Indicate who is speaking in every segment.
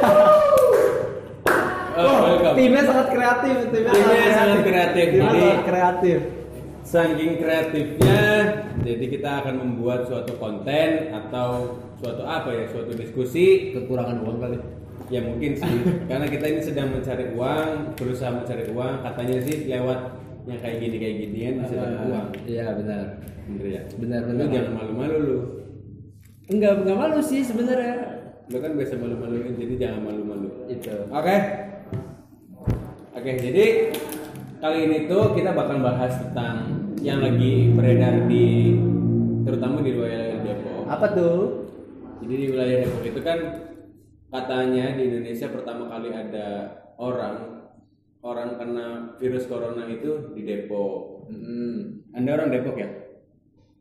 Speaker 1: Oh,
Speaker 2: Oh,
Speaker 3: kreatif timnya
Speaker 1: Timnya
Speaker 3: sangat
Speaker 1: sangat kreatif.
Speaker 3: Timnya
Speaker 1: Jadi-
Speaker 3: sangat kreatif
Speaker 1: Saking kreatifnya, jadi kita akan membuat suatu konten atau suatu apa ya, suatu diskusi
Speaker 2: kekurangan uang kali
Speaker 1: ya mungkin sih karena kita ini sedang mencari uang, berusaha mencari uang, katanya sih lewat yang kayak gini kayak ginian bisa dapat uang.
Speaker 2: iya benar
Speaker 1: Bener ya?
Speaker 2: Benar,
Speaker 1: Lu
Speaker 2: benar.
Speaker 1: jangan malu-malu lu.
Speaker 2: enggak enggak malu sih sebenarnya
Speaker 1: Lu kan biasa malu-maluin jadi jangan malu-malu.
Speaker 2: itu
Speaker 1: Oke. Oke, jadi kali ini tuh kita bakal bahas tentang yang lagi beredar di terutama di wilayah Depok.
Speaker 2: apa tuh
Speaker 1: Jadi di wilayah Depok itu kan katanya di Indonesia pertama kali ada orang orang kena virus corona itu di Depok. Anda orang Depok ya?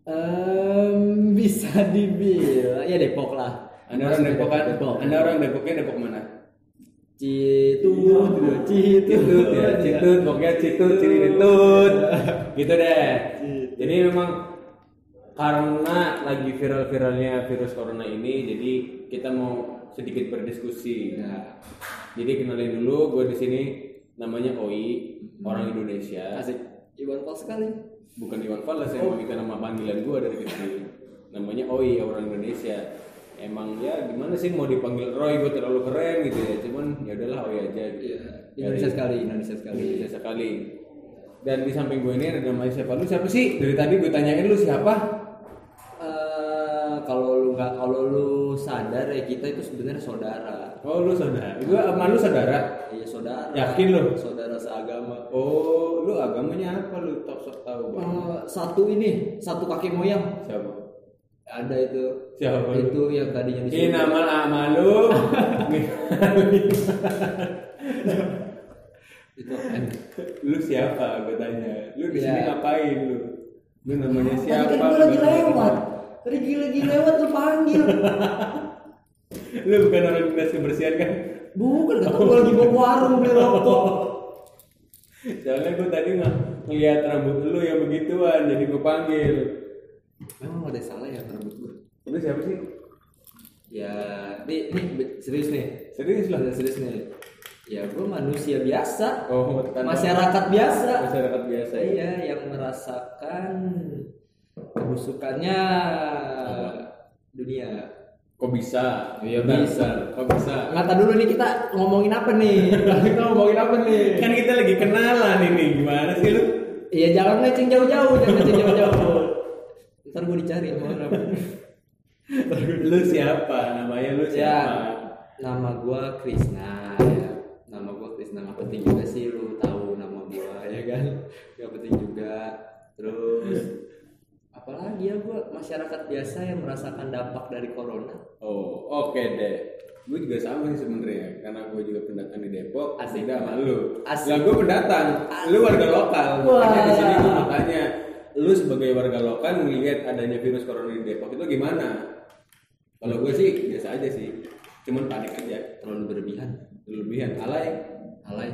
Speaker 2: Em, bisa dibilang ya Depok lah
Speaker 1: Anda orang Depok kan?
Speaker 2: Depok.
Speaker 1: Anda orang Depoknya Depok mana?
Speaker 2: Citut,
Speaker 1: Citut ya,
Speaker 2: Iya.
Speaker 1: citut, pokoknya citut, citut, gitu deh. Jadi memang karena lagi viral-viralnya virus corona ini, jadi kita mau sedikit berdiskusi. Nah, jadi kenalin dulu, gue di sini namanya Oi, orang Indonesia,
Speaker 2: Asik. Iwan Fals sekali.
Speaker 1: bukan Iwan Fals yang begitu nama panggilan gue dari kecil. Namanya Oi, orang Indonesia. Emang ya gimana sih mau dipanggil Roy, gue terlalu keren gitu ya. Cuman ya udahlah Oi aja gitu.
Speaker 2: Iya.
Speaker 1: Dari-
Speaker 2: Indonesia sekali, Indonesia sekali.
Speaker 1: Indonesia sekali. Dan di samping gue ini ada namanya siapa? Lu siapa sih? Dari tadi gue tanyain lu siapa?
Speaker 2: Eh, kalau lu nggak kalau lu sadar ya kita itu sebenarnya saudara.
Speaker 1: Oh lu saudara. Gue sama lu saudara.
Speaker 2: Iya saudara.
Speaker 1: Yakin lu?
Speaker 2: Saudara seagama.
Speaker 1: Oh lu agamanya apa lu? Tok sok tahu Bang.
Speaker 2: Eh, satu ini, satu kakek moyang
Speaker 1: Siapa?
Speaker 2: ada itu.
Speaker 1: Siapa lu?
Speaker 2: Itu yang tadinya di
Speaker 1: Ini nama lama lu.
Speaker 2: Itu apaan?
Speaker 1: lu siapa? Gue tanya. Lu di
Speaker 2: Iya.
Speaker 1: sini ngapain lu? Lu namanya
Speaker 2: Tadi
Speaker 1: siapa?
Speaker 2: kan gua lagi lewat. Tadi gua lagi lewat lu panggil.
Speaker 1: Lu bukan orang dinas kebersihan kan?
Speaker 2: Bukan kata gua lagi mau ke warung beli rokok.
Speaker 1: Soalnya gue tadi nggak ngeliat rambut lu yang begituan, jadi gue panggil.
Speaker 2: Emang ada salah ya rambut gua?
Speaker 1: Lu siapa sih?
Speaker 2: Ya, ini, ini be- serius nih.
Speaker 1: Serius lah.
Speaker 2: Serius, serius nih. Ya gue manusia biasa,
Speaker 1: Oh, tanpa-
Speaker 2: masyarakat biasa.
Speaker 1: masyarakat biasa ya.
Speaker 2: Iya, yang merasakan kebusukannya dunia.
Speaker 1: Kok bisa?
Speaker 2: Iya,
Speaker 1: Bentar,
Speaker 2: bisa.
Speaker 1: bentar. Kok bisa?
Speaker 2: Ngata dulu nih kita ngomongin apa nih? kita ngomongin apa nih?
Speaker 1: Kan kita lagi kenalan ini, gimana sih lu?
Speaker 2: Iya jangan ngeceng jauh-jauh, jangan ngeceng jauh-jauh. Ntar gue dicari sama orang.
Speaker 1: lu siapa? Namanya lu
Speaker 2: ya,
Speaker 1: siapa?
Speaker 2: nama gue Krisna. Ya. Nama gue Krisna nggak penting juga sih lu tahu nama gue ya kan? Gak penting juga. Terus apalagi ya gue masyarakat biasa yang merasakan dampak dari corona.
Speaker 1: Oh, oke deh. Gue juga sama sih sebenarnya, karena gue juga pendatang di Depok.
Speaker 2: Asik.
Speaker 1: Beda sama lu.
Speaker 2: Asik.
Speaker 1: Lah gue pendatang, lu warga lokal.
Speaker 2: Wah.
Speaker 1: Makanya di sini gue mau tanya, lu sebagai warga lokal melihat adanya virus corona di Depok itu gimana? Kalau gue sih biasa aja sih, cuman panik aja.
Speaker 2: Terlalu berlebihan,
Speaker 1: Lebihan alay,
Speaker 2: alay.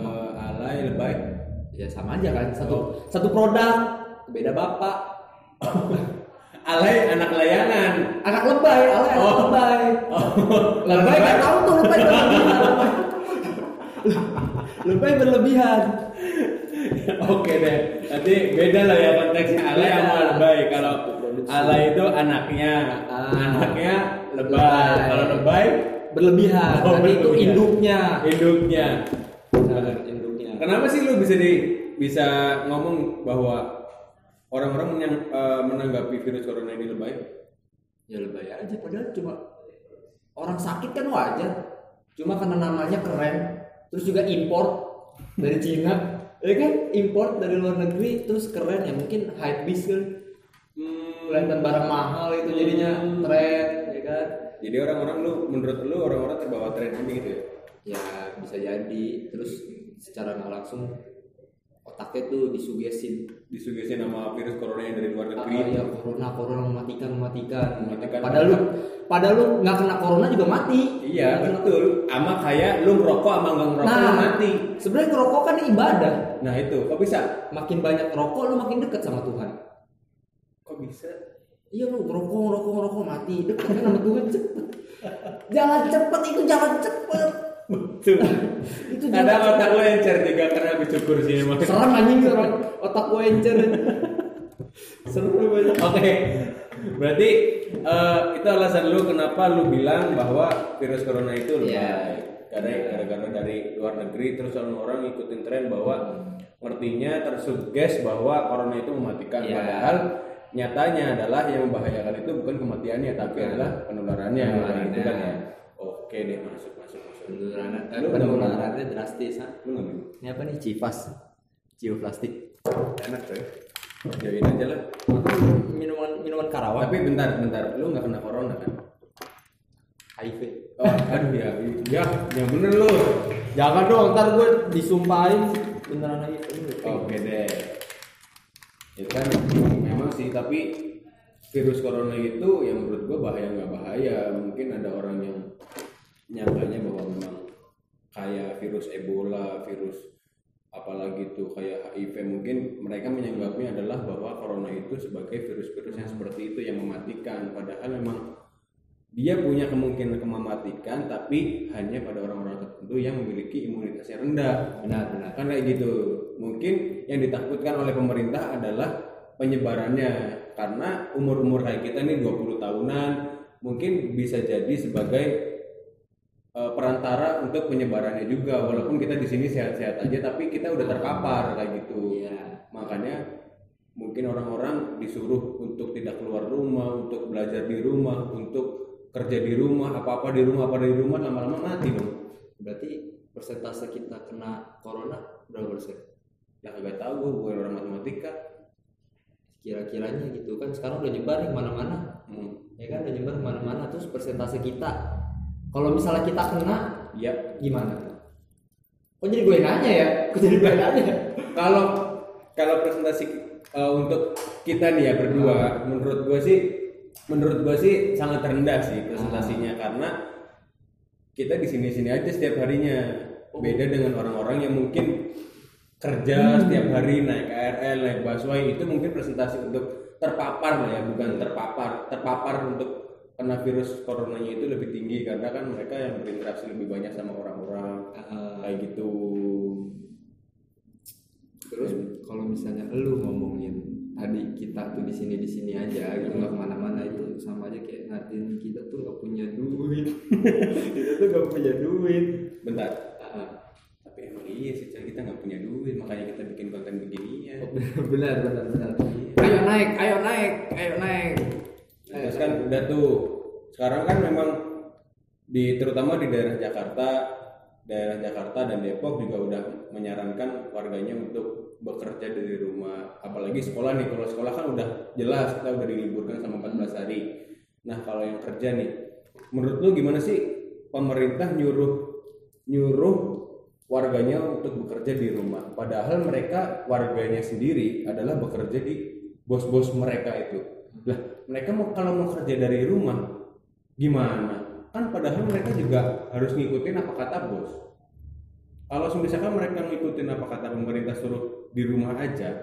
Speaker 1: Eh, alay lebay
Speaker 2: Ya sama aja kan, satu satu produk, beda bapak.
Speaker 1: alay anak layangan
Speaker 2: Anak lebay, alay anak
Speaker 1: Oh.
Speaker 2: lebay.
Speaker 1: oh
Speaker 2: lebay nggak tahu tuh lebay berlebihan lebay berlebihan
Speaker 1: oke deh nanti beda lah ya konteksnya alay sama lebay kalau alay itu anaknya
Speaker 2: Ah.
Speaker 1: anaknya lebay
Speaker 2: Lebay.
Speaker 1: kalau lebay
Speaker 2: berlebihan
Speaker 1: Oh,
Speaker 2: nanti itu
Speaker 1: berlebihan.
Speaker 2: induknya
Speaker 1: induknya
Speaker 2: Benar, induknya
Speaker 1: kenapa sih lu bisa di bisa ngomong bahwa orang-orang yang eh, menanggapi virus corona ini lebay
Speaker 2: ya lebay aja padahal cuma orang sakit kan wajar cuma karena namanya keren terus juga import dari Cina ya kan import dari luar negeri terus keren ya mungkin hype bis kan kelihatan barang mahal itu jadinya tren ya kan
Speaker 1: jadi orang-orang lu menurut lu orang-orang terbawa tren ini gitu ya
Speaker 2: ya bisa jadi terus secara nggak langsung otaknya tuh disugesin
Speaker 1: disugesti nama virus corona yang dari luar
Speaker 2: Ah,
Speaker 1: negeri
Speaker 2: ya corona corona mematikan mematikan
Speaker 1: Mematikan.
Speaker 2: padahal lu padahal lu nggak kena corona juga mati
Speaker 1: Iya betul. Ama kayak lu ngerokok sama nggak ngerokok lu
Speaker 2: nah
Speaker 1: mati.
Speaker 2: sebenarnya ngerokok kan ibadah
Speaker 1: Nah itu kok bisa?
Speaker 2: makin banyak rokok lu makin dekat sama Tuhan
Speaker 1: Kok bisa?
Speaker 2: iya lu ngerokok ngerokok ngerokok mati dekat kan sama Tuhan cepet jalan cepet itu jalan cepet
Speaker 1: Betul.
Speaker 2: Itu juga-
Speaker 1: Ada otak gue encer tiga karena habis cukur sini Mas.
Speaker 2: Serem anjing serem. Otak gue encer. Serem banget.
Speaker 1: Oke. Berarti eh, itu alasan lu kenapa lu bilang bahwa virus corona itu lu
Speaker 2: Iya.
Speaker 1: karena gara-gara dari luar negeri terus orang orang ngikutin tren bahwa
Speaker 2: Hmm.
Speaker 1: ngertinya tersugges bahwa corona itu mematikan
Speaker 2: Iya.
Speaker 1: padahal nyatanya adalah yang membahayakan itu bukan kematiannya tapi adalah penularannya,
Speaker 2: Iya. Penularannya.
Speaker 1: Gitu kan ya. Oke deh masuk masuk masuk.
Speaker 2: Penularan- eh,
Speaker 1: Lu udah
Speaker 2: Penularannya drastis. ha?
Speaker 1: Lu nggak minum?
Speaker 2: Ini apa nih? Civas. Cioplastik.
Speaker 1: Enak coy. Jauhin aja lah.
Speaker 2: Minuman minuman Karawang.
Speaker 1: Tapi bentar bentar, lu nggak kena corona kan?
Speaker 2: HIV.
Speaker 1: Oh, aduh ya, ya, yang bener lu.
Speaker 2: Jangan dong, ntar gue disumpahin beneran lagi.
Speaker 1: Oke deh. Ya kan, memang sih, tapi virus corona itu yang menurut gua bahaya nggak bahaya. Mungkin ada orang yang nyangkanya bahwa memang kayak virus Ebola, virus apalagi itu kayak HIV mungkin mereka menyanggapnya adalah bahwa corona itu sebagai virus-virus yang seperti itu yang mematikan padahal memang dia punya kemungkinan mematikan tapi hanya pada orang-orang tertentu yang memiliki imunitasnya rendah
Speaker 2: Benar benar.
Speaker 1: kan kayak gitu mungkin yang ditakutkan oleh pemerintah adalah penyebarannya karena umur-umur kayak kita nih 20 tahunan mungkin bisa jadi sebagai eh, perantara untuk penyebarannya juga walaupun kita di sini sehat-sehat aja tapi kita udah terkapar kayak gitu
Speaker 2: Iya.
Speaker 1: makanya mungkin orang-orang disuruh untuk tidak keluar rumah untuk belajar di rumah untuk kerja di rumah apa-apa di rumah apa di rumah lama-lama mati dong
Speaker 2: Berarti persentase kita kena corona berapa persen?
Speaker 1: ya kagak tahu gue bukan orang matematika
Speaker 2: Kira-kiranya gitu kan sekarang udah nyebar nih kemana-mana.
Speaker 1: Hmm.
Speaker 2: Ya kan udah nyebar kemana-mana terus persentase kita. Kalau misalnya kita kena
Speaker 1: Ya,
Speaker 2: gimana? Kok jadi gue yang nanya ya? Kok jadi gue yang nanya?
Speaker 1: kalau kalau presentasi eh, untuk kita nih ya berdua, menurut gue sih, menurut gue sih sangat rendah sih presentasinya karena kita di sini-sini aja setiap harinya. Beda dengan orang-orang yang mungkin kerja setiap hari naik KRL, naik busway itu mungkin presentasi untuk terpapar lah ya, bukan terpapar, terpapar untuk kena virus coronanya itu lebih tinggi karena kan mereka yang berinteraksi lebih banyak sama orang-orang
Speaker 2: Eh,
Speaker 1: kayak gitu.
Speaker 2: terus kalau misalnya lu ngomongin tadi kita tuh di sini di sini aja gitu nggak kemana-mana itu sama aja kayak ngatin kita tuh nggak punya duit kita tuh nggak punya duit
Speaker 1: Bentar,
Speaker 2: Ah,
Speaker 1: tapi emang iya sih Cel. kita nggak punya duit makanya kita bikin konten beginian
Speaker 2: Oh, benar benar benar ayo naik ayo naik ayo naik
Speaker 1: Nah, terus kan udah tuh sekarang kan memang di terutama di daerah Jakarta daerah Jakarta dan Depok juga udah menyarankan warganya untuk bekerja dari rumah apalagi sekolah nih kalau sekolah kan udah jelas kita udah diliburkan sama 14 hari nah kalau yang kerja nih menurut lu gimana sih pemerintah nyuruh nyuruh warganya untuk bekerja di rumah padahal mereka warganya sendiri adalah bekerja di bos-bos mereka itu lah mereka mau kalau mau kerja dari rumah gimana kan padahal mereka juga harus ngikutin apa kata bos kalau misalkan mereka ngikutin apa kata pemerintah suruh di rumah aja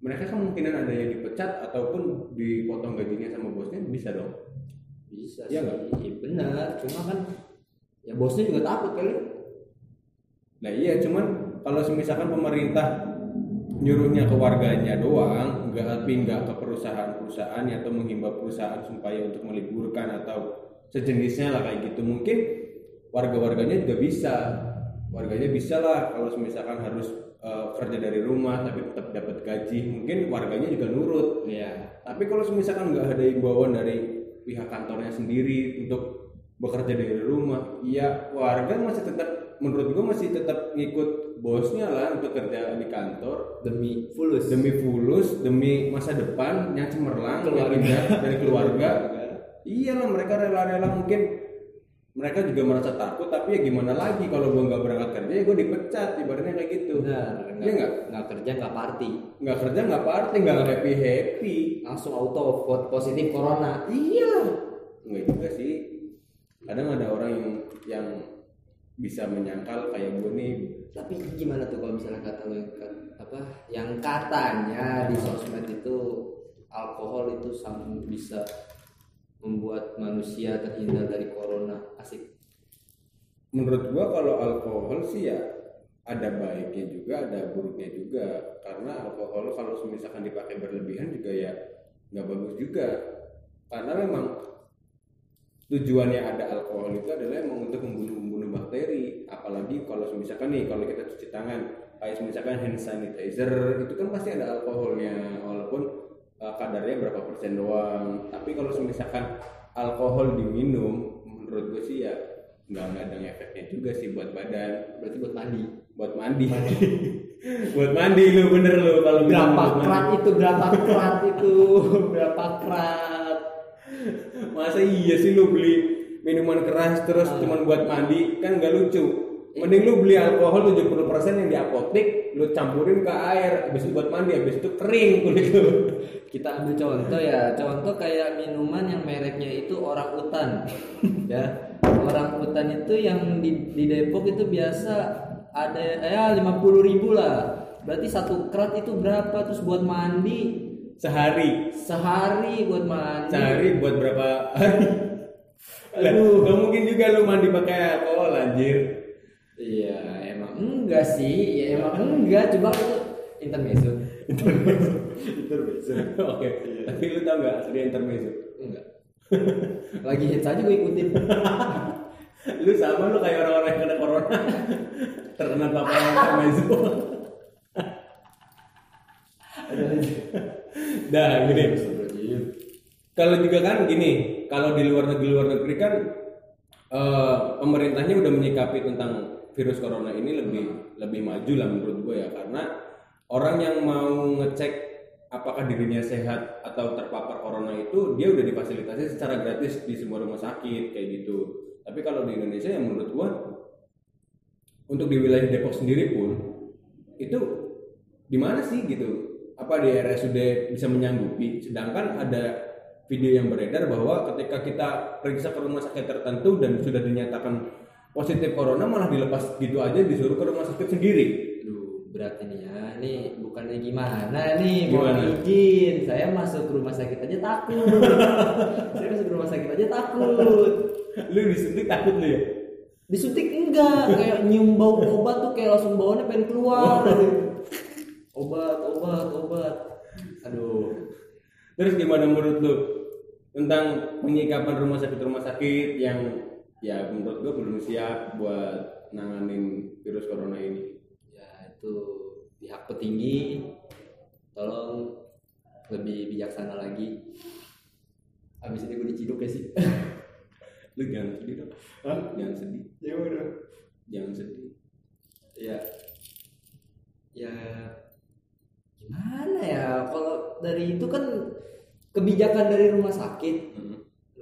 Speaker 1: mereka kemungkinan adanya dipecat ataupun dipotong gajinya sama bosnya bisa dong
Speaker 2: bisa
Speaker 1: Iya nggak?
Speaker 2: sih benar cuma kan ya bosnya juga takut kali
Speaker 1: Nah iya cuman kalau misalkan pemerintah nyuruhnya ke warganya doang, nggak tapi nggak ke perusahaan-perusahaan ya, atau menghimbau perusahaan supaya untuk meliburkan atau sejenisnya lah kayak gitu mungkin warga-warganya juga bisa warganya bisa lah kalau misalkan harus eh, kerja dari rumah tapi tetap dapat gaji mungkin warganya juga nurut
Speaker 2: iya
Speaker 1: tapi kalau misalkan nggak ada imbauan dari pihak kantornya sendiri untuk bekerja dari rumah, ya warga masih tetap menurut gue masih tetap ngikut bosnya lah untuk kerja di kantor
Speaker 2: demi fulus
Speaker 1: demi fulus, demi masa depan yang cemerlang yang
Speaker 2: Keluarga.
Speaker 1: indah dari keluarga. Iyalah mereka rela-rela mungkin mereka juga merasa takut tapi ya gimana lagi kalau gue nggak berangkat kerja ya gue dipecat ibaratnya kayak gitu
Speaker 2: benar
Speaker 1: Iya nggak?
Speaker 2: nggak kerja nggak party
Speaker 1: nggak kerja nggak party nggak happy happy
Speaker 2: langsung auto vote positif corona
Speaker 1: Iya. Enggak juga sih. Kadang ada orang yang yang bisa menyangkal kayak gue nih.
Speaker 2: tapi gimana tuh kalau misalnya kata lo yang ka- apa yang katanya di sosmed itu alkohol itu sangat bisa membuat manusia terhindar dari corona asik
Speaker 1: menurut gua kalau alkohol sih ya ada baiknya juga ada buruknya juga karena alkohol kalau misalkan dipakai berlebihan juga ya nggak bagus juga karena memang tujuannya ada alkohol itu adalah emang untuk membunuh membunuh bakteri apalagi kalau misalkan nih kalau kita cuci tangan kayak misalkan hand sanitizer itu kan pasti ada alkoholnya walaupun eh, kadarnya berapa persen doang tapi kalau misalkan alkohol diminum menurut gue sih ya nggak nggak ada efeknya juga sih buat badan
Speaker 2: berarti buat mandi
Speaker 1: buat mandi buat mandi lu bener lu kalau bilang
Speaker 2: berapa
Speaker 1: buat mandi.
Speaker 2: kerat itu berapa kerat itu berapa kerat
Speaker 1: masa iya sih lu beli minuman keras terus cuman buat mandi kan nggak lucu mending lu beli alkohol 70% yang di apotek lu campurin ke air habis itu buat mandi habis itu kering kulit lu
Speaker 2: kita ambil contoh ya contoh kayak minuman yang mereknya itu orang utan ya orang utan itu yang di, di Depok itu biasa ada ya lima ribu lah berarti satu kerat itu berapa terus buat mandi
Speaker 1: sehari
Speaker 2: sehari buat mandi
Speaker 1: sehari buat berapa hari Lah, nggak mungkin juga lu mandi pakai alkohol anjir
Speaker 2: iya emang enggak sih ya emang enggak coba itu intermezzo
Speaker 1: oke tapi lu tau nggak asli intermezzo
Speaker 2: enggak lagi hits aja gue ikutin
Speaker 1: lu sama lu kayak orang-orang yang kena corona terkena paparan intermezzo dah gini kalau juga kan gini kalau di luar negeri luar negeri kan eh, pemerintahnya udah menyikapi tentang virus corona ini lebih lebih maju lah menurut gue ya karena orang yang mau ngecek apakah dirinya sehat atau terpapar corona itu dia udah difasilitasi secara gratis di semua rumah sakit kayak gitu tapi kalau di Indonesia yang menurut gue untuk di wilayah Depok sendiri pun itu di mana sih gitu apa di RSUD bisa menyanggupi sedangkan ada video yang beredar bahwa ketika kita periksa ke rumah sakit tertentu dan sudah dinyatakan positif corona malah dilepas gitu aja disuruh ke rumah sakit sendiri
Speaker 2: Aduh, berat ini ya. Ini bukannya gimana nih, mau
Speaker 1: Gimana?
Speaker 2: izin. Saya masuk rumah sakit aja takut. Saya masuk rumah sakit aja takut.
Speaker 1: lu disuntik takut lu ya
Speaker 2: Disuntik enggak, kayak nyium bau obat tuh kayak langsung baunya pengen keluar. obat, obat, obat. Aduh.
Speaker 1: terus gimana menurut lu tentang penyikapan rumah sakit rumah sakit yang ya menurut gua belum siap buat nanganin virus corona ini
Speaker 2: Ya itu pihak petinggi tolong lebih bijaksana lagi. Abis ini gue diciduk ya sih.
Speaker 1: lu jangan sedih dong jangan sedih
Speaker 2: ya udah.
Speaker 1: jangan sedih
Speaker 2: ya ya gimana ya kalau dari itu kan kebijakan dari rumah sakit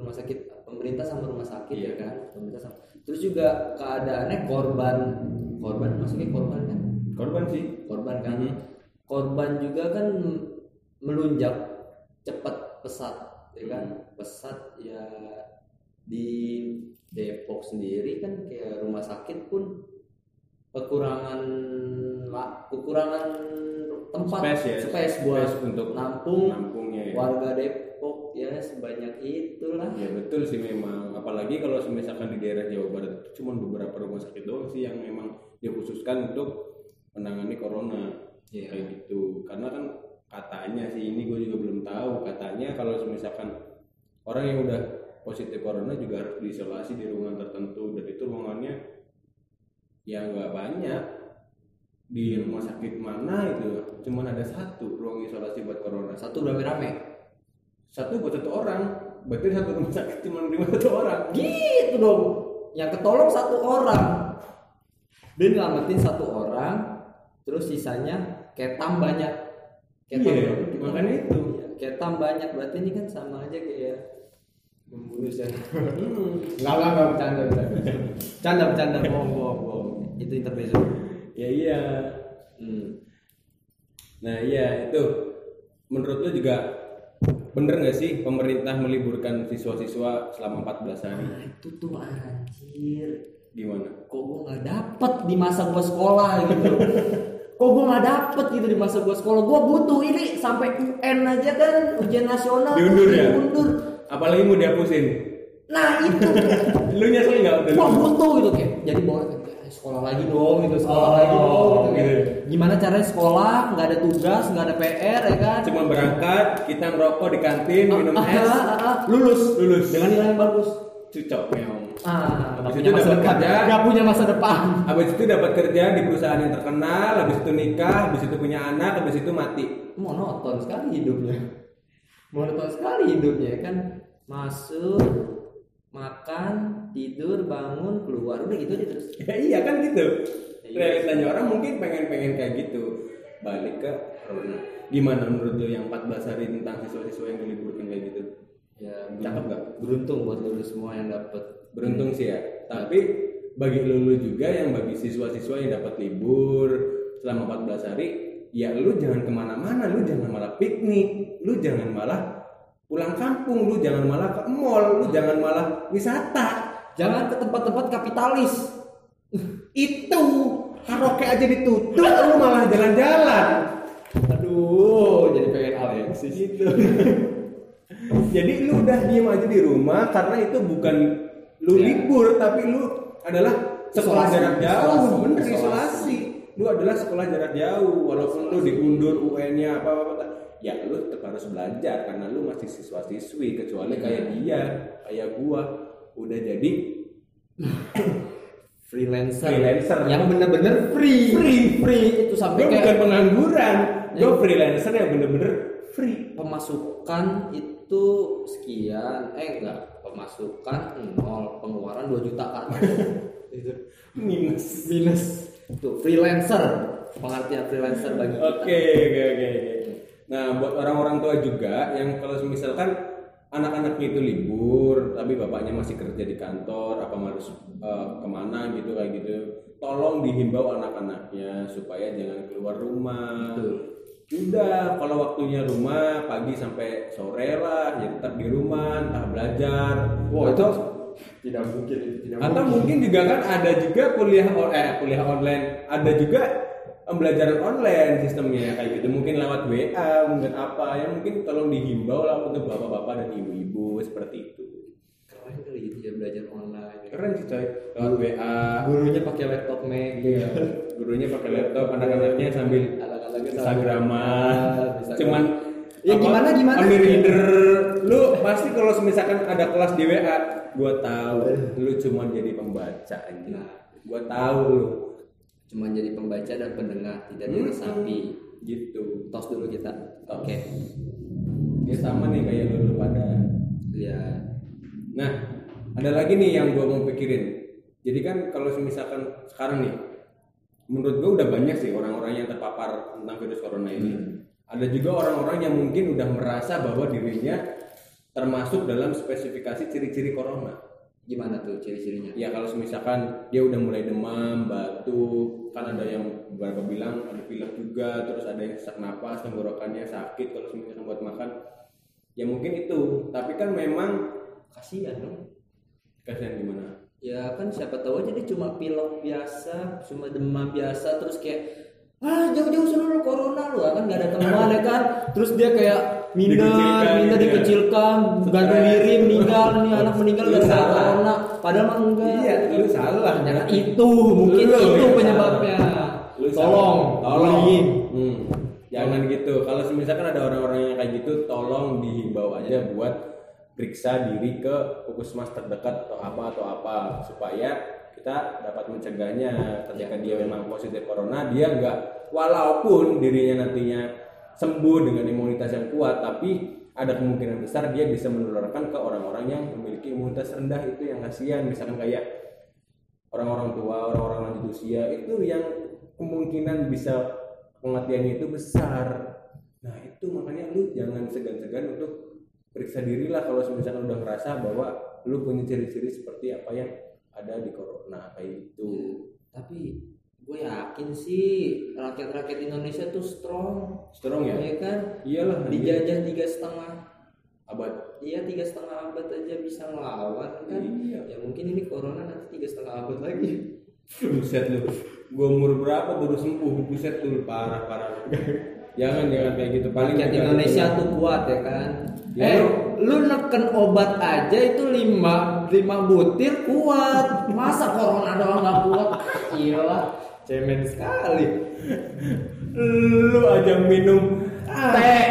Speaker 2: rumah sakit pemerintah sama rumah sakit
Speaker 1: Iya.
Speaker 2: ya kan pemerintah sama terus juga keadaannya korban korban maksudnya korban kan
Speaker 1: korban sih
Speaker 2: korban kan
Speaker 1: Mhm.
Speaker 2: korban juga kan melunjak cepat pesat ya kan pesat ya di Depok sendiri kan kayak rumah sakit pun kekurangan la- kekurangan tempat
Speaker 1: Space ya,
Speaker 2: buat
Speaker 1: space untuk
Speaker 2: nampung
Speaker 1: nampungnya ya.
Speaker 2: warga Depok ya sebanyak itulah
Speaker 1: ya betul sih memang apalagi kalau misalkan di daerah Jawa Barat itu cuma beberapa rumah sakit doang sih yang memang dikhususkan untuk menangani corona
Speaker 2: Iya.
Speaker 1: kayak gitu karena kan katanya sih ini gue juga belum tahu katanya kalau misalkan orang yang udah positif corona juga harus diisolasi di ruangan tertentu dan itu ruangannya ya nggak banyak di rumah sakit mana itu cuman ada satu ruang isolasi buat corona
Speaker 2: satu rame-rame
Speaker 1: satu buat satu orang berarti satu rumah sakit cuma menerima satu orang
Speaker 2: gitu dong yang ketolong satu orang dia nyelamatin satu orang terus sisanya ketam banyak ketam
Speaker 1: Iya,
Speaker 2: berapa kita?
Speaker 1: makanya itu.
Speaker 2: Iya, ketam banyak berarti ini kan sama aja kayak membunuh saya nggak nggak nggak bercanda bercanda bercanda bercanda bohong bohong bohong itu intermezzo
Speaker 1: ya iya
Speaker 2: hmm.
Speaker 1: nah iya itu menurut lu juga bener nggak sih pemerintah meliburkan siswa-siswa selama 14 hari
Speaker 2: nah, itu tuh anjir
Speaker 1: gimana
Speaker 2: kok gue nggak dapet di masa gue sekolah gitu kok gue nggak dapet gitu di masa gue sekolah gue butuh ini sampai UN aja kan ujian nasional tuh
Speaker 1: Diundur ya?
Speaker 2: diundur.
Speaker 1: apalagi mau dihapusin
Speaker 2: nah itu
Speaker 1: lu nyesel nggak udah
Speaker 2: gue butuh gitu kayak jadi jadi bawa "Eh, sekolah lagi dong gitu sekolah lagi dong gitu, kan.
Speaker 1: gitu.
Speaker 2: gimana caranya sekolah nggak ada tugas nggak ada PR ya kan
Speaker 1: Cuma berangkat, kita merokok di kantin, minum
Speaker 2: Ah,
Speaker 1: es,
Speaker 2: ah, ah, ah. lulus
Speaker 1: Lulus.
Speaker 2: dengan nilai yang bagus
Speaker 1: cucok meong.
Speaker 2: ah nggak
Speaker 1: Habis
Speaker 2: punya
Speaker 1: itu
Speaker 2: masa
Speaker 1: dapat
Speaker 2: depan
Speaker 1: kerja.
Speaker 2: nggak punya masa depan
Speaker 1: Habis itu dapat kerja di perusahaan yang terkenal, habis itu nikah, habis itu punya anak, habis itu mati.
Speaker 2: monoton sekali hidupnya monoton sekali hidupnya ya kan masuk makan tidur bangun keluar udah gitu aja terus
Speaker 1: Ya iya kan gitu.
Speaker 2: Ya, iya.
Speaker 1: Realitanya orang mungkin pengen-pengen kayak gitu. Balik ke corona. Gimana menurut lo yang 14 hari tentang siswa-siswa yang diliburkan kayak gitu?
Speaker 2: ya
Speaker 1: Cakep nggak?
Speaker 2: beruntung buat lu semua yang dapet
Speaker 1: Beruntung sih ya. Tapi bagi lulu juga yang bagi siswa-siswa yang dapat libur selama 14 hari, ya lu jangan kemana-mana, lu jangan malah piknik, lu jangan malah pulang kampung, lu jangan malah ke mall, lu jangan malah wisata.
Speaker 2: jangan ke tempat-tempat kapitalis
Speaker 1: Itu karaoke aja ditutup, lu malah jalan-jalan.
Speaker 2: aduh jadi pengen Alexis itu
Speaker 1: Gitu. Jadi lu udah diem aja di rumah karena itu bukan lu
Speaker 2: Ya.
Speaker 1: libur tapi lu adalah sekolah
Speaker 2: Isolasi.
Speaker 1: jarak jauh,
Speaker 2: Isolasi.
Speaker 1: bener
Speaker 2: Isolasi.
Speaker 1: isolasi. Lu adalah sekolah jarak jauh walaupun lu diundur UN-nya apa apa apa. Ya lu tetap harus belajar karena lu masih siswa-siswi kecuali kayak
Speaker 2: Iya.
Speaker 1: dia, kayak gua udah jadi
Speaker 2: freelancer
Speaker 1: Freelancer.
Speaker 2: yang bener-bener free
Speaker 1: Free.
Speaker 2: free itu sampai
Speaker 1: gua bukan
Speaker 2: kayak
Speaker 1: pengangguran, gua
Speaker 2: Ya.
Speaker 1: freelancer yang bener-bener free.
Speaker 2: pemasukan itu sekian eh enggak pemasukan nol pengeluaran 2 jutaan
Speaker 1: Gitu.
Speaker 2: itu
Speaker 1: Minus.
Speaker 2: minus tuh freelancer pengertian freelancer bagi kita
Speaker 1: Oke, oke, oke. oke. Nah, buat orang-orang tua juga yang kalau misalkan anak-anaknya itu libur, tapi bapaknya masih kerja di kantor, apa harus eh, kemana gitu kayak gitu, tolong dihimbau anak-anaknya supaya jangan keluar rumah.
Speaker 2: Betul.
Speaker 1: Udah, kalau waktunya rumah pagi sampai sore lah, ya tetap di rumah, entah belajar.
Speaker 2: Wah,
Speaker 1: Atau-
Speaker 2: tidak mungkin itu tidak
Speaker 1: atau mungkin juga kan ada juga kuliah on- eh kuliah online, ada juga pembelajaran online sistemnya kayak gitu. Mungkin lewat WA, mungkin apa yang mungkin tolong dihimbau lah untuk bapak-bapak dan ibu-ibu seperti itu.
Speaker 2: keren kali gitu ya belajar online
Speaker 1: Keren sih coy, lewat WA.
Speaker 2: gurunya pakai laptop Mac
Speaker 1: Iya. Gurunya pakai laptop, anak-anaknya sambil
Speaker 2: anak-anaknya sambil- Ah,
Speaker 1: Instagraman.
Speaker 2: Instagram.
Speaker 1: Cuman
Speaker 2: Ya,
Speaker 1: apa,
Speaker 2: gimana, gimana?
Speaker 1: ambil reader. Lu pasti kalau misalkan ada kelas di WA, gua tahu lu cuman jadi pembaca anjing.
Speaker 2: Nah.
Speaker 1: Gua tahu lu.
Speaker 2: cuman jadi pembaca dan pendengar
Speaker 1: Hmm.
Speaker 2: tidak jadi sapi
Speaker 1: gitu
Speaker 2: tos dulu kita oke
Speaker 1: ya sama nih kayak dulu pada
Speaker 2: ya
Speaker 1: nah ada lagi nih yang gua mau pikirin jadi kan kalau misalkan sekarang nih menurut gua udah banyak sih orang-orang yang terpapar tentang virus corona ini
Speaker 2: Hmm.
Speaker 1: ada juga orang-orang yang mungkin udah merasa bahwa dirinya termasuk dalam spesifikasi ciri-ciri corona
Speaker 2: gimana tuh ciri-cirinya
Speaker 1: ya kalau misalkan dia udah mulai demam batuk kan ada yang beberapa bilang ada pilek juga terus ada yang sesak napas tenggorokannya sakit kalau misalkan buat makan ya mungkin itu tapi kan memang
Speaker 2: kasihan dong
Speaker 1: kasihan gimana
Speaker 2: ya kan siapa tahu aja dia cuma pilek biasa cuma demam biasa terus kayak ah jauh-jauh sana lu corona lu kan nggak ada teman ya kan terus dia kayak minder
Speaker 1: Dikucilkan
Speaker 2: minder
Speaker 1: gitu ya.
Speaker 2: dikucilkan gantung diri meninggal nih anak meninggal
Speaker 1: Lu
Speaker 2: gara-gara
Speaker 1: salah.
Speaker 2: corona padahal mah enggak
Speaker 1: Iya. lu salah
Speaker 2: Ternyata itu mungkin
Speaker 1: Lu
Speaker 2: itu
Speaker 1: yang
Speaker 2: penyebabnya
Speaker 1: Lu salah.
Speaker 2: tolong
Speaker 1: tolong
Speaker 2: bullying.
Speaker 1: Hmm. jangan gitu kalau misalkan ada orang-orang yang kayak gitu tolong dihimbau aja buat periksa diri ke puskesmas terdekat atau apa atau apa supaya kita dapat mencegahnya ketika dia memang positif corona dia nggak walaupun dirinya nantinya sembuh dengan imunitas yang kuat tapi ada kemungkinan besar dia bisa menularkan ke orang-orang yang memiliki imunitas rendah itu yang kasihan misalkan kayak orang-orang tua, orang-orang lanjut usia itu yang kemungkinan bisa kematiannya itu besar. Nah itu makanya lu jangan segan-segan untuk periksa dirilah kalau misalkan udah ngerasa bahwa lu punya ciri-ciri seperti apa yang ada di corona kayak gitu.
Speaker 2: Hmm. tapi gue yakin sih rakyat-rakyat Indonesia tuh strong
Speaker 1: Strong ya?
Speaker 2: ya kan
Speaker 1: Iyalah. anjing.
Speaker 2: dijajah tiga setengah
Speaker 1: Abad.
Speaker 2: iya tiga setengah abad aja bisa ngelawan kan
Speaker 1: Iya.
Speaker 2: ya mungkin ini corona nanti tiga setengah abad lagi
Speaker 1: Buset lu. Gua umur berapa baru sembuh? Buset lu parah parah. jangan jangan kayak gitu. Paling
Speaker 2: rakyat
Speaker 1: juga-
Speaker 2: Indonesia tuh kuat ya kan
Speaker 1: Iya.
Speaker 2: eh lu neken obat aja itu lima lima butir kuat masa corona doang nggak Gila, cemen sekali.
Speaker 1: lu aja minum teh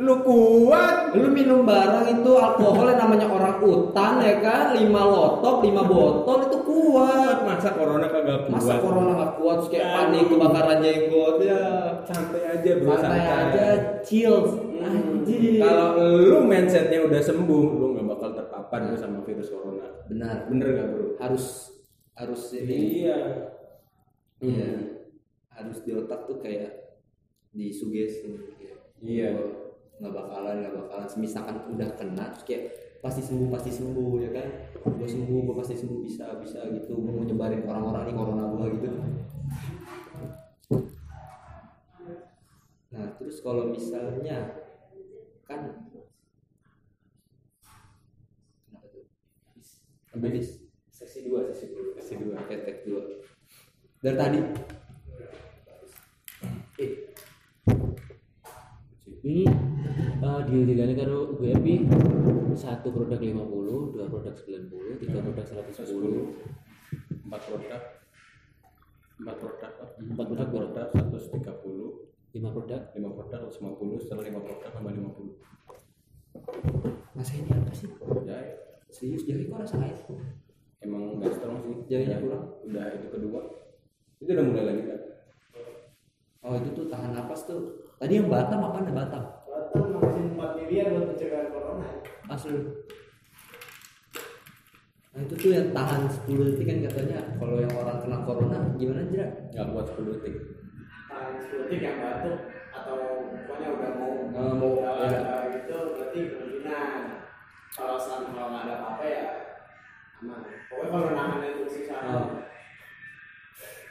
Speaker 1: lu kuat
Speaker 2: Lu minum barang itu alkohol yang namanya orang utan ya kan, 5 lotok, 5 botol itu kuat.
Speaker 1: masa corona kagak kuat
Speaker 2: Masa corona gak kuat terus kayak panik kebakaran jenggot ya.
Speaker 1: santai aja bro
Speaker 2: Santai aja, chill. Anjir.
Speaker 1: kalau lu mindsetnya udah sembuh lu nggak bakal terpapar lu sama virus corona
Speaker 2: benar
Speaker 1: bener nggak bro
Speaker 2: harus harus ini
Speaker 1: iya
Speaker 2: ya, harus di otak tuh kayak disugesti kayak,
Speaker 1: Iya.
Speaker 2: "Oh, nggak bakalan nggak bakalan misalkan udah kena terus kayak pasti sembuh pasti sembuh ya kan gue sembuh gue pasti sembuh bisa bisa gitu gue mau nyebarin ke orang-orang nih corona gue gitu nah terus kalau misalnya kan kenapa tuh habis
Speaker 1: sesi dua sesi dua sesi dua
Speaker 2: Ketek dua. Dari tadi. Eh.
Speaker 4: ini eh, deal dealannya kalau gue Pi, satu produk 50 dua produk 90 tiga produk 110
Speaker 1: empat produk empat produk Pak.
Speaker 4: Empat produk,
Speaker 1: Empat produk satu tiga puluh
Speaker 4: lima produk
Speaker 1: lima produk seratus lima puluh setelah lima produk tambah lima puluh
Speaker 2: Mas ini apa sih?
Speaker 1: ya
Speaker 2: Serius jahe kok rasa air?
Speaker 1: emang nggak strong sih
Speaker 2: Jahenya
Speaker 1: Udah-
Speaker 2: kurang.
Speaker 1: udah itu kedua itu udah mulai lagi kan
Speaker 2: Oh itu tuh tahan napas tuh. Tadi yang Batam apa nih Batam?
Speaker 5: Batam ngabisin 4 miliar buat pencegahan corona.
Speaker 2: Asli. Nah itu tuh yang tahan 10 detik kan katanya kalau yang orang kena corona gimana jera?
Speaker 1: nggak kuat sepuluh detik
Speaker 5: Tahan 10 detik yang batuk atau pokoknya udah mau
Speaker 2: Nggak mau,
Speaker 5: jalan
Speaker 2: ya.
Speaker 5: jalan gitu berarti kemungkinan kalau sana kalau nggak ada apa-apa ya aman. Pokoknya kalau nahan itu sih sana.
Speaker 2: Oh.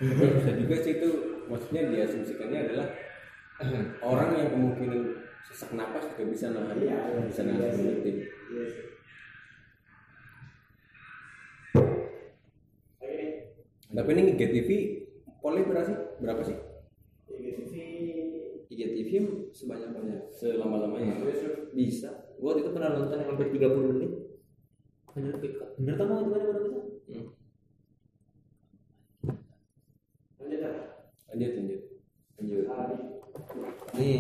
Speaker 1: Tapi bisa juga sih itu maksudnya diasumsikannya adalah orang yang kemungkinan sesak napas juga bisa nahan
Speaker 5: Iya.
Speaker 1: bisa nahan
Speaker 5: Iya sih.
Speaker 1: sepuluh detik
Speaker 5: Iya sih. Oke nih.
Speaker 1: tapi ini GTV poli berapa sih berapa sih
Speaker 5: Ini sih
Speaker 2: IGTV sebanyak banyak
Speaker 1: selama lamanya
Speaker 5: Iya.
Speaker 2: bisa. Gua waktu itu pernah nonton yang hampir 30 menit.
Speaker 4: bener Pi. bener tau mau gimana baru bisa
Speaker 1: Hmm.
Speaker 5: lanjut dah.
Speaker 1: lanjut lanjut
Speaker 2: Lanjut.
Speaker 5: Alami.
Speaker 2: Nih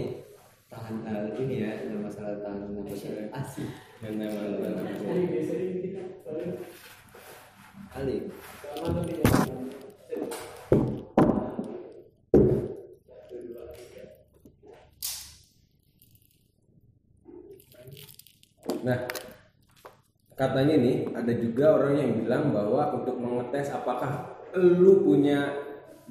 Speaker 2: tahan eh, ini ya ada masalah tahan napas asik.
Speaker 1: yang nama
Speaker 5: Jadi sering kita sering
Speaker 2: Alik.
Speaker 5: selama tuh kita-
Speaker 1: nah katanya nih ada juga orang yang bilang bahwa untuk mengetes apakah lu punya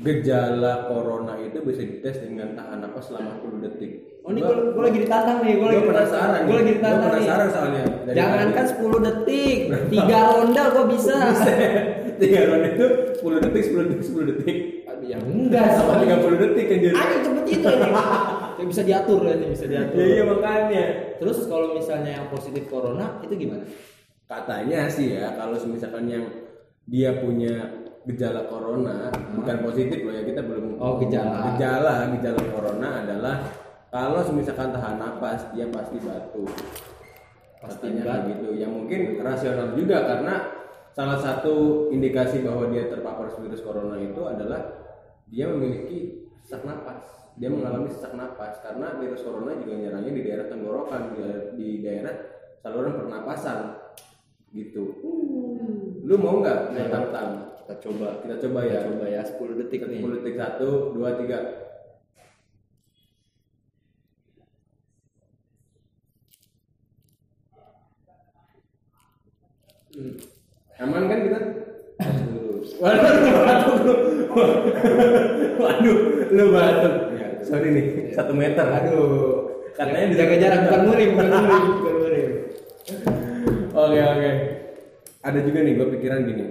Speaker 1: gejala corona itu bisa dites dengan tahan napas selama 10 detik.
Speaker 2: Oh ini
Speaker 1: Gua-
Speaker 2: gue lagi ditantang nih, gue lagi
Speaker 1: Gua penasaran
Speaker 2: Gue
Speaker 1: nih.
Speaker 2: lagi
Speaker 1: Gua
Speaker 2: ditantang
Speaker 1: penasaran
Speaker 2: nih.
Speaker 1: soalnya dari
Speaker 2: Jangankan 10 detik, 3 ronda gue bisa.
Speaker 1: tiga ronde itu 10 detik 10 detik 10 detik
Speaker 2: Aduh, ya enggak
Speaker 1: sama
Speaker 2: soalnya.
Speaker 1: 30 detik kan jadi
Speaker 2: Aja cepet itu ini. Ya, Gitu. bisa diatur ya, ini bisa diatur.
Speaker 1: ya iya makanya
Speaker 2: Terus kalau misalnya yang positif corona itu gimana?
Speaker 1: katanya sih ya kalau misalkan yang dia punya gejala corona bukan positif loh ya kita belum
Speaker 2: Oh, gejala.
Speaker 1: gejala gejala corona adalah kalau misalkan tahan napas dia pasti batuk
Speaker 2: Pasti
Speaker 1: katanya kayak
Speaker 2: batuk.
Speaker 1: gitu yang mungkin rasional juga karena salah satu indikasi bahwa dia terpapar virus corona itu adalah dia memiliki sesak napas dia
Speaker 2: Hmm.
Speaker 1: mengalami sesak napas karena virus corona juga nyerangnya di daerah tenggorokan di, di daerah saluran pernapasan gitu lu mau nggak saya tantang
Speaker 2: Kita coba.
Speaker 1: kita coba ya
Speaker 2: Hmm. Iya. Kita coba ya 10 detik nih.
Speaker 1: 10 detik satu dua tiga Hmm. aman kan kita waduh lu batuk lu waduh lu batuk sorry nih satu meter Iya, aduh katanya
Speaker 2: Jaga jarak bukan murim, bukan murim, bukan murim.
Speaker 1: Oke oke. Ada juga nih gue pikiran gini.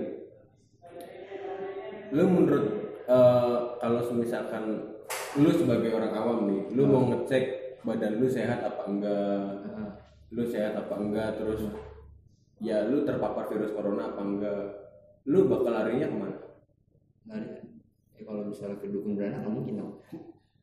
Speaker 1: Lu menurut eh, kalau misalkan lu sebagai orang awam nih, lu mau
Speaker 2: Hmm.
Speaker 1: ngecek badan lu sehat apa enggak,
Speaker 2: Nah,
Speaker 1: lu sehat apa enggak, terus ya lu terpapar virus corona apa enggak, lu bakal larinya kemana?
Speaker 2: Nah, ya kalau misalnya ke dukun beranak nggak mungkin dong.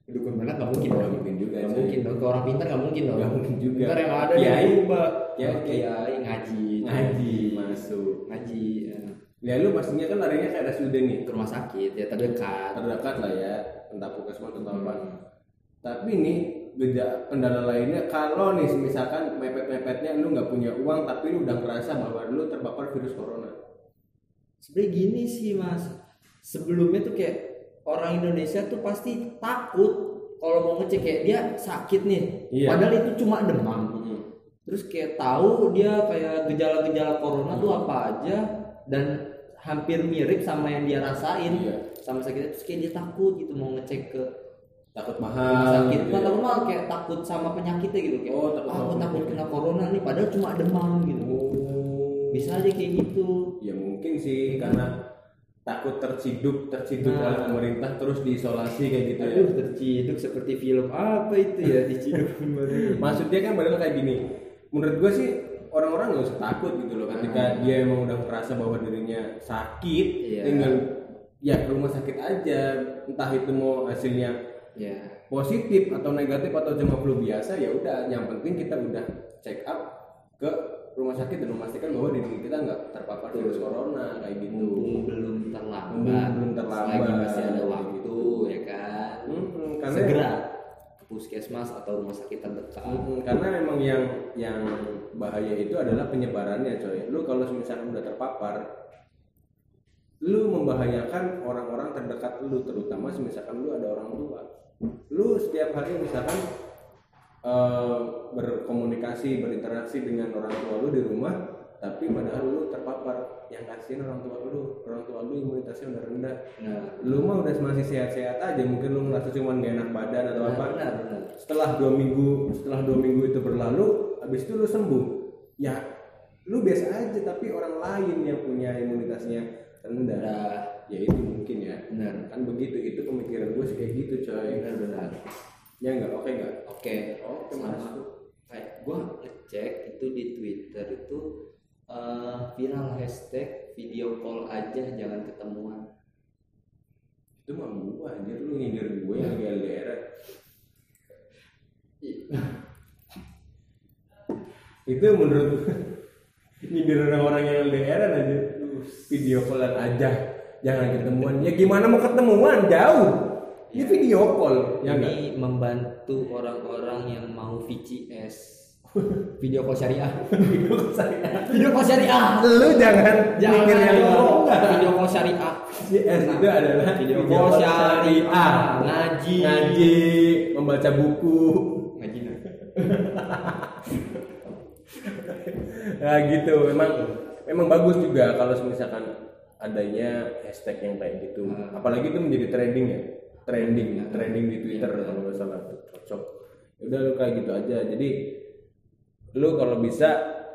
Speaker 2: Ke dukun beranak nggak mungkin
Speaker 1: Nggak
Speaker 2: dong.
Speaker 1: mungkin juga,
Speaker 2: Nggak
Speaker 1: cuy.
Speaker 2: mungkin dong. Ke orang pintar nggak mungkin dong.
Speaker 1: Nggak mungkin juga. Ya, iya.
Speaker 2: Ntar yang ada
Speaker 1: Kiai.
Speaker 2: di rumah.
Speaker 1: Kiai.
Speaker 2: kiai ngaji.
Speaker 1: Ngaji masuk.
Speaker 2: Ngaji. eh.
Speaker 1: Ya lu pastinya kan larinya ke RSUD nih.
Speaker 2: ke rumah sakit ya terdekat
Speaker 1: terdekat lah ya entah puskesmas
Speaker 2: Hmm.
Speaker 1: atau apa tapi nih gejala kendala lainnya kalau nih misalkan mepet-mepetnya lu nggak punya uang tapi lu udah ngerasa bahwa lu terpapar virus corona
Speaker 2: sebenarnya gini sih mas sebelumnya tuh kayak orang Indonesia tuh pasti takut kalau mau ngecek kayak dia sakit nih
Speaker 1: Iya.
Speaker 2: padahal itu cuma demam terus kayak tahu dia kayak gejala-gejala corona tuh apa aja dan hampir mirip sama yang dia rasain
Speaker 1: Iya.
Speaker 2: sama sakitnya terus kayak dia takut gitu mau ngecek ke
Speaker 1: takut
Speaker 2: rumah
Speaker 1: mahal
Speaker 2: sakit
Speaker 1: gitu
Speaker 2: bukan
Speaker 1: ya.
Speaker 2: takut malah kayak takut sama penyakitnya gitu kayak
Speaker 1: Oh, takut
Speaker 2: "Ah,
Speaker 1: sama
Speaker 2: aku takut
Speaker 1: penyakit.
Speaker 2: kena corona nih padahal cuma demam gitu
Speaker 1: Oh.
Speaker 2: bisa aja kayak gitu
Speaker 1: ya mungkin sih karena takut terciduk terciduk
Speaker 2: Nah.
Speaker 1: oleh pemerintah terus diisolasi kayak gitu ya
Speaker 2: aduh terciduk seperti film apa itu ya diciduk kemarin
Speaker 1: maksudnya kan padahal kayak gini menurut gue sih orang-orang nggak usah takut gitu loh ketika dia emang udah merasa bahwa dirinya sakit
Speaker 2: Hmm. Iya.
Speaker 1: tinggal ya ke rumah sakit aja entah itu mau hasilnya
Speaker 2: ya
Speaker 1: positif atau negatif atau cuma flu biasa ya udah yang penting kita udah check up ke rumah sakit dan memastikan bahwa diri kita nggak terpapar virus corona kayak gitu
Speaker 2: mumpung belum terlambat
Speaker 1: Mumpung belum terlambat. Hmm.
Speaker 2: selagi masih ada waktu ya kan
Speaker 1: Mm-mm, karena
Speaker 2: segera ke puskesmas atau rumah sakit terdekat
Speaker 1: Mm, karena memang yang yang bahaya itu adalah penyebarannya coy lu kalau misalnya udah terpapar lu membahayakan orang-orang terdekat lu terutama misalkan lu ada orang tua lu setiap hari misalkan eh, berkomunikasi berinteraksi dengan orang tua lu di rumah tapi padahal lu terpapar yang kasihin orang tua lu orang tua lu imunitasnya udah rendah
Speaker 2: nah
Speaker 1: lu mah udah masih sehat-sehat aja mungkin lu ngerasa cuman gak enak badan atau apa
Speaker 2: benar benar
Speaker 1: setelah dua minggu setelah dua minggu itu berlalu habis itu lu sembuh ya lu biasa aja tapi orang lain yang punya imunitasnya rendah
Speaker 2: benar
Speaker 1: ya itu mungkin ya
Speaker 2: benar
Speaker 1: kan begitu itu pemikiran gue sih kayak gitu coy
Speaker 2: benar benar
Speaker 1: ya nggak oke nggak Oh,
Speaker 2: oke
Speaker 1: oke
Speaker 2: Sama.
Speaker 1: masuk
Speaker 2: kayak gue ngecek itu di Twitter itu eh, viral hashtag video call aja jangan ketemuan
Speaker 1: itu mah gue anjir lu nyindir gue yang lagi LDR
Speaker 2: Iya.
Speaker 1: itu menurut gue nyindir orang-orang yang LDR aja Duh, video callan aja jangan ketemuan ya gimana mau ketemuan jauh ini video call ya enggak
Speaker 2: Iya. ini membantu orang-orang yang mau VCS video call syariah
Speaker 1: video call saya
Speaker 2: video call syariah
Speaker 1: lu jangan
Speaker 2: jangan
Speaker 1: mikir yang
Speaker 2: dong.
Speaker 1: enggak
Speaker 2: video call syariah Nah,
Speaker 1: CS itu adalah
Speaker 2: video call syariah ngaji
Speaker 1: ngaji membaca buku
Speaker 2: ngaji nah.
Speaker 1: nah gitu memang memang bagus juga kalau misalkan adanya hashtag yang kayak gitu apalagi itu menjadi trending ya trending trending di Twitter kalau nggak salah cocok udah lu kayak gitu aja jadi lu kalau bisa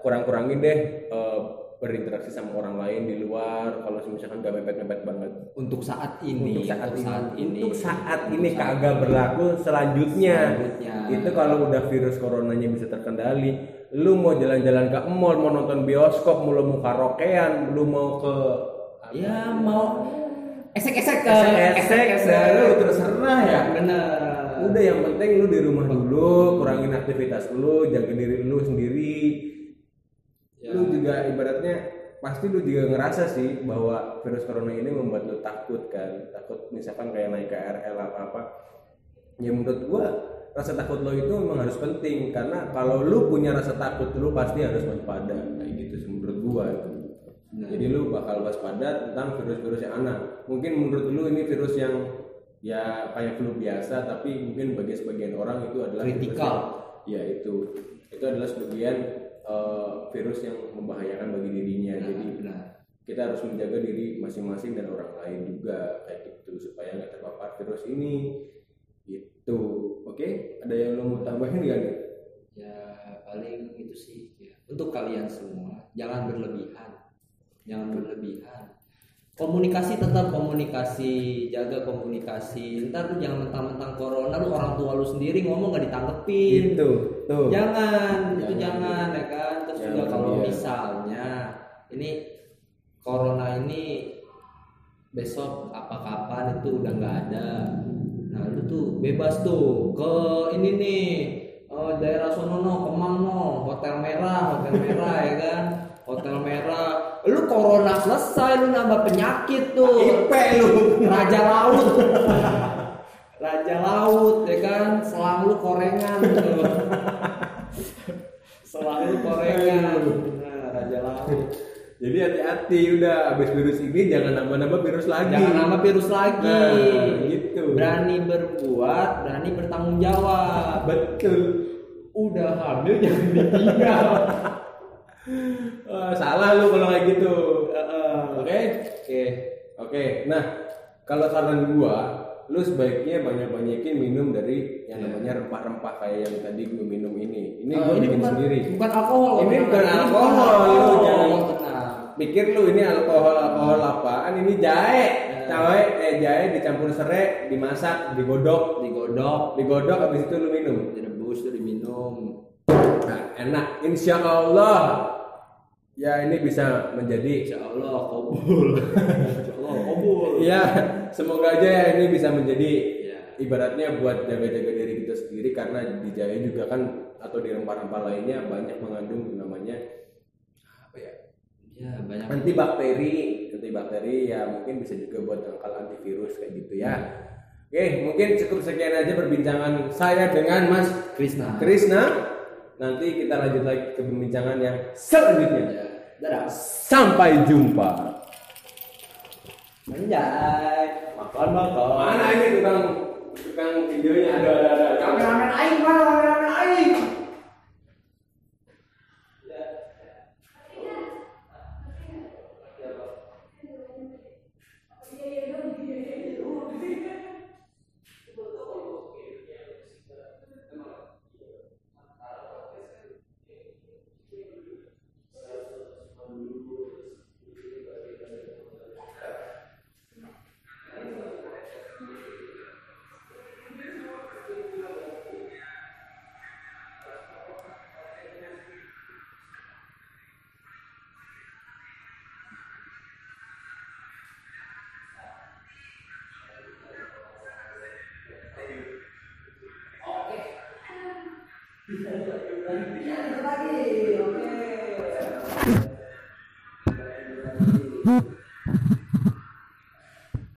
Speaker 1: kurang-kurangin deh eh, berinteraksi sama orang lain di luar kalau misalkan gak mepet-mepet banget
Speaker 2: untuk saat ini
Speaker 1: untuk saat, ini untuk saat ini kagak berlaku selanjutnya.
Speaker 2: Selanjutnya.
Speaker 1: itu kalau udah virus coronanya bisa terkendali lu mau jalan-jalan ke mall mau nonton bioskop mau lu mau karaokean lu mau ke
Speaker 2: ya mau esek-esek ke
Speaker 1: esek lu terserah ya
Speaker 2: bener
Speaker 1: udah yang penting lu di rumah dulu kurangin aktivitas lu jaga diri lu sendiri lu juga ibaratnya pasti lu juga ngerasa sih bahwa virus corona ini membuat lu takut kan takut misalkan kayak naik KRL apa apa ya menurut gua rasa takut lo itu memang harus penting karena kalau lu punya rasa takut lu pasti harus waspada kayak gitu sih menurut gua jadi lu bakal waspada tentang virus-virus yang aneh mungkin menurut lu ini virus yang ya kayak flu biasa tapi mungkin bagi sebagian orang itu adalah virus
Speaker 2: Kritikal.
Speaker 1: yang- ya itu itu adalah sebagian eh, virus yang membahayakan bagi dirinya
Speaker 2: Nah.
Speaker 1: jadi
Speaker 2: benar
Speaker 1: kita harus menjaga diri masing-masing dan orang lain juga kayak gitu supaya nggak terpapar virus ini itu oke ada yang lo mau tambahin nggak nih
Speaker 2: ya paling itu sih ya. untuk kalian semua jangan berlebihan jangan berlebihan komunikasi tetap komunikasi jaga komunikasi ntar lu jangan mentang-mentang corona lu orang tua lu sendiri ngomong gak ditanggepin
Speaker 1: itu tuh
Speaker 2: jangan itu
Speaker 1: Gitu. Jangan.
Speaker 2: jangan ya kan terus
Speaker 1: Jangan,
Speaker 2: juga kalau
Speaker 1: iya.
Speaker 2: misalnya ini corona ini besok apa kapan itu udah nggak ada nah lu tuh bebas tuh ke ini nih eh, daerah sono no kemang no hotel merah hotel merah ya kan hotel merah lu corona selesai lu nambah penyakit tuh
Speaker 6: Ipe lu.
Speaker 2: raja laut raja laut ya kan selang lu korengan tuh selang lu korengan nah, raja laut
Speaker 1: Jadi hati-hati udah abis virus ini jangan nambah-nambah virus lagi.
Speaker 2: jangan nama virus lagi
Speaker 1: Nah, gitu.
Speaker 2: berani berbuat berani bertanggung jawab
Speaker 1: Betul.
Speaker 2: udah hamil jangan ditinggal
Speaker 1: Eh, salah lu kalau kayak gitu. Oke.
Speaker 2: oke
Speaker 1: Oke, nah kalau saran gua, lu sebaiknya banyak-banyakin minum dari yang namanya rempah-rempah kayak yang tadi gua minum ini. Ini
Speaker 2: Eh,
Speaker 1: gua bikin
Speaker 2: bukan,
Speaker 1: sendiri.
Speaker 2: bukan alkohol
Speaker 1: Ini
Speaker 2: Bang.
Speaker 1: bukan alkohol,
Speaker 2: Oh, alkohol.
Speaker 1: jangan-
Speaker 2: Tenang.
Speaker 1: Pikir lu ini alkohol alkohol apaan? Ini jahe, jahe, eh jahe dicampur serai, dimasak, digodok,
Speaker 2: digodok
Speaker 1: digodok habis itu lu minum.
Speaker 2: direbus tuh diminum
Speaker 1: Nah, enak. Insya Allah, ya ini bisa menjadi.
Speaker 2: insya Allah kabul insya Allah kabul
Speaker 1: Ya, semoga aja ya ini bisa menjadi
Speaker 2: ya
Speaker 1: ibaratnya buat jaga-jaga diri kita sendiri karena di jahe juga kan atau di rempah-rempah lainnya banyak mengandung namanya apa ya
Speaker 2: ya banyak
Speaker 1: antibakteri antibakteri ya mungkin bisa juga buat tangkal antivirus kayak gitu ya oke mungkin cukup sekian aja perbincangan saya dengan Mas
Speaker 2: Krishna
Speaker 1: Krisna nanti kita lanjut lagi ke pembincangan yang selanjutnya
Speaker 2: dadah
Speaker 1: sampai jumpa
Speaker 2: menjai makan makan
Speaker 1: mana ini tukang tukang videonya ada ada ada kameramen aing kameramen aing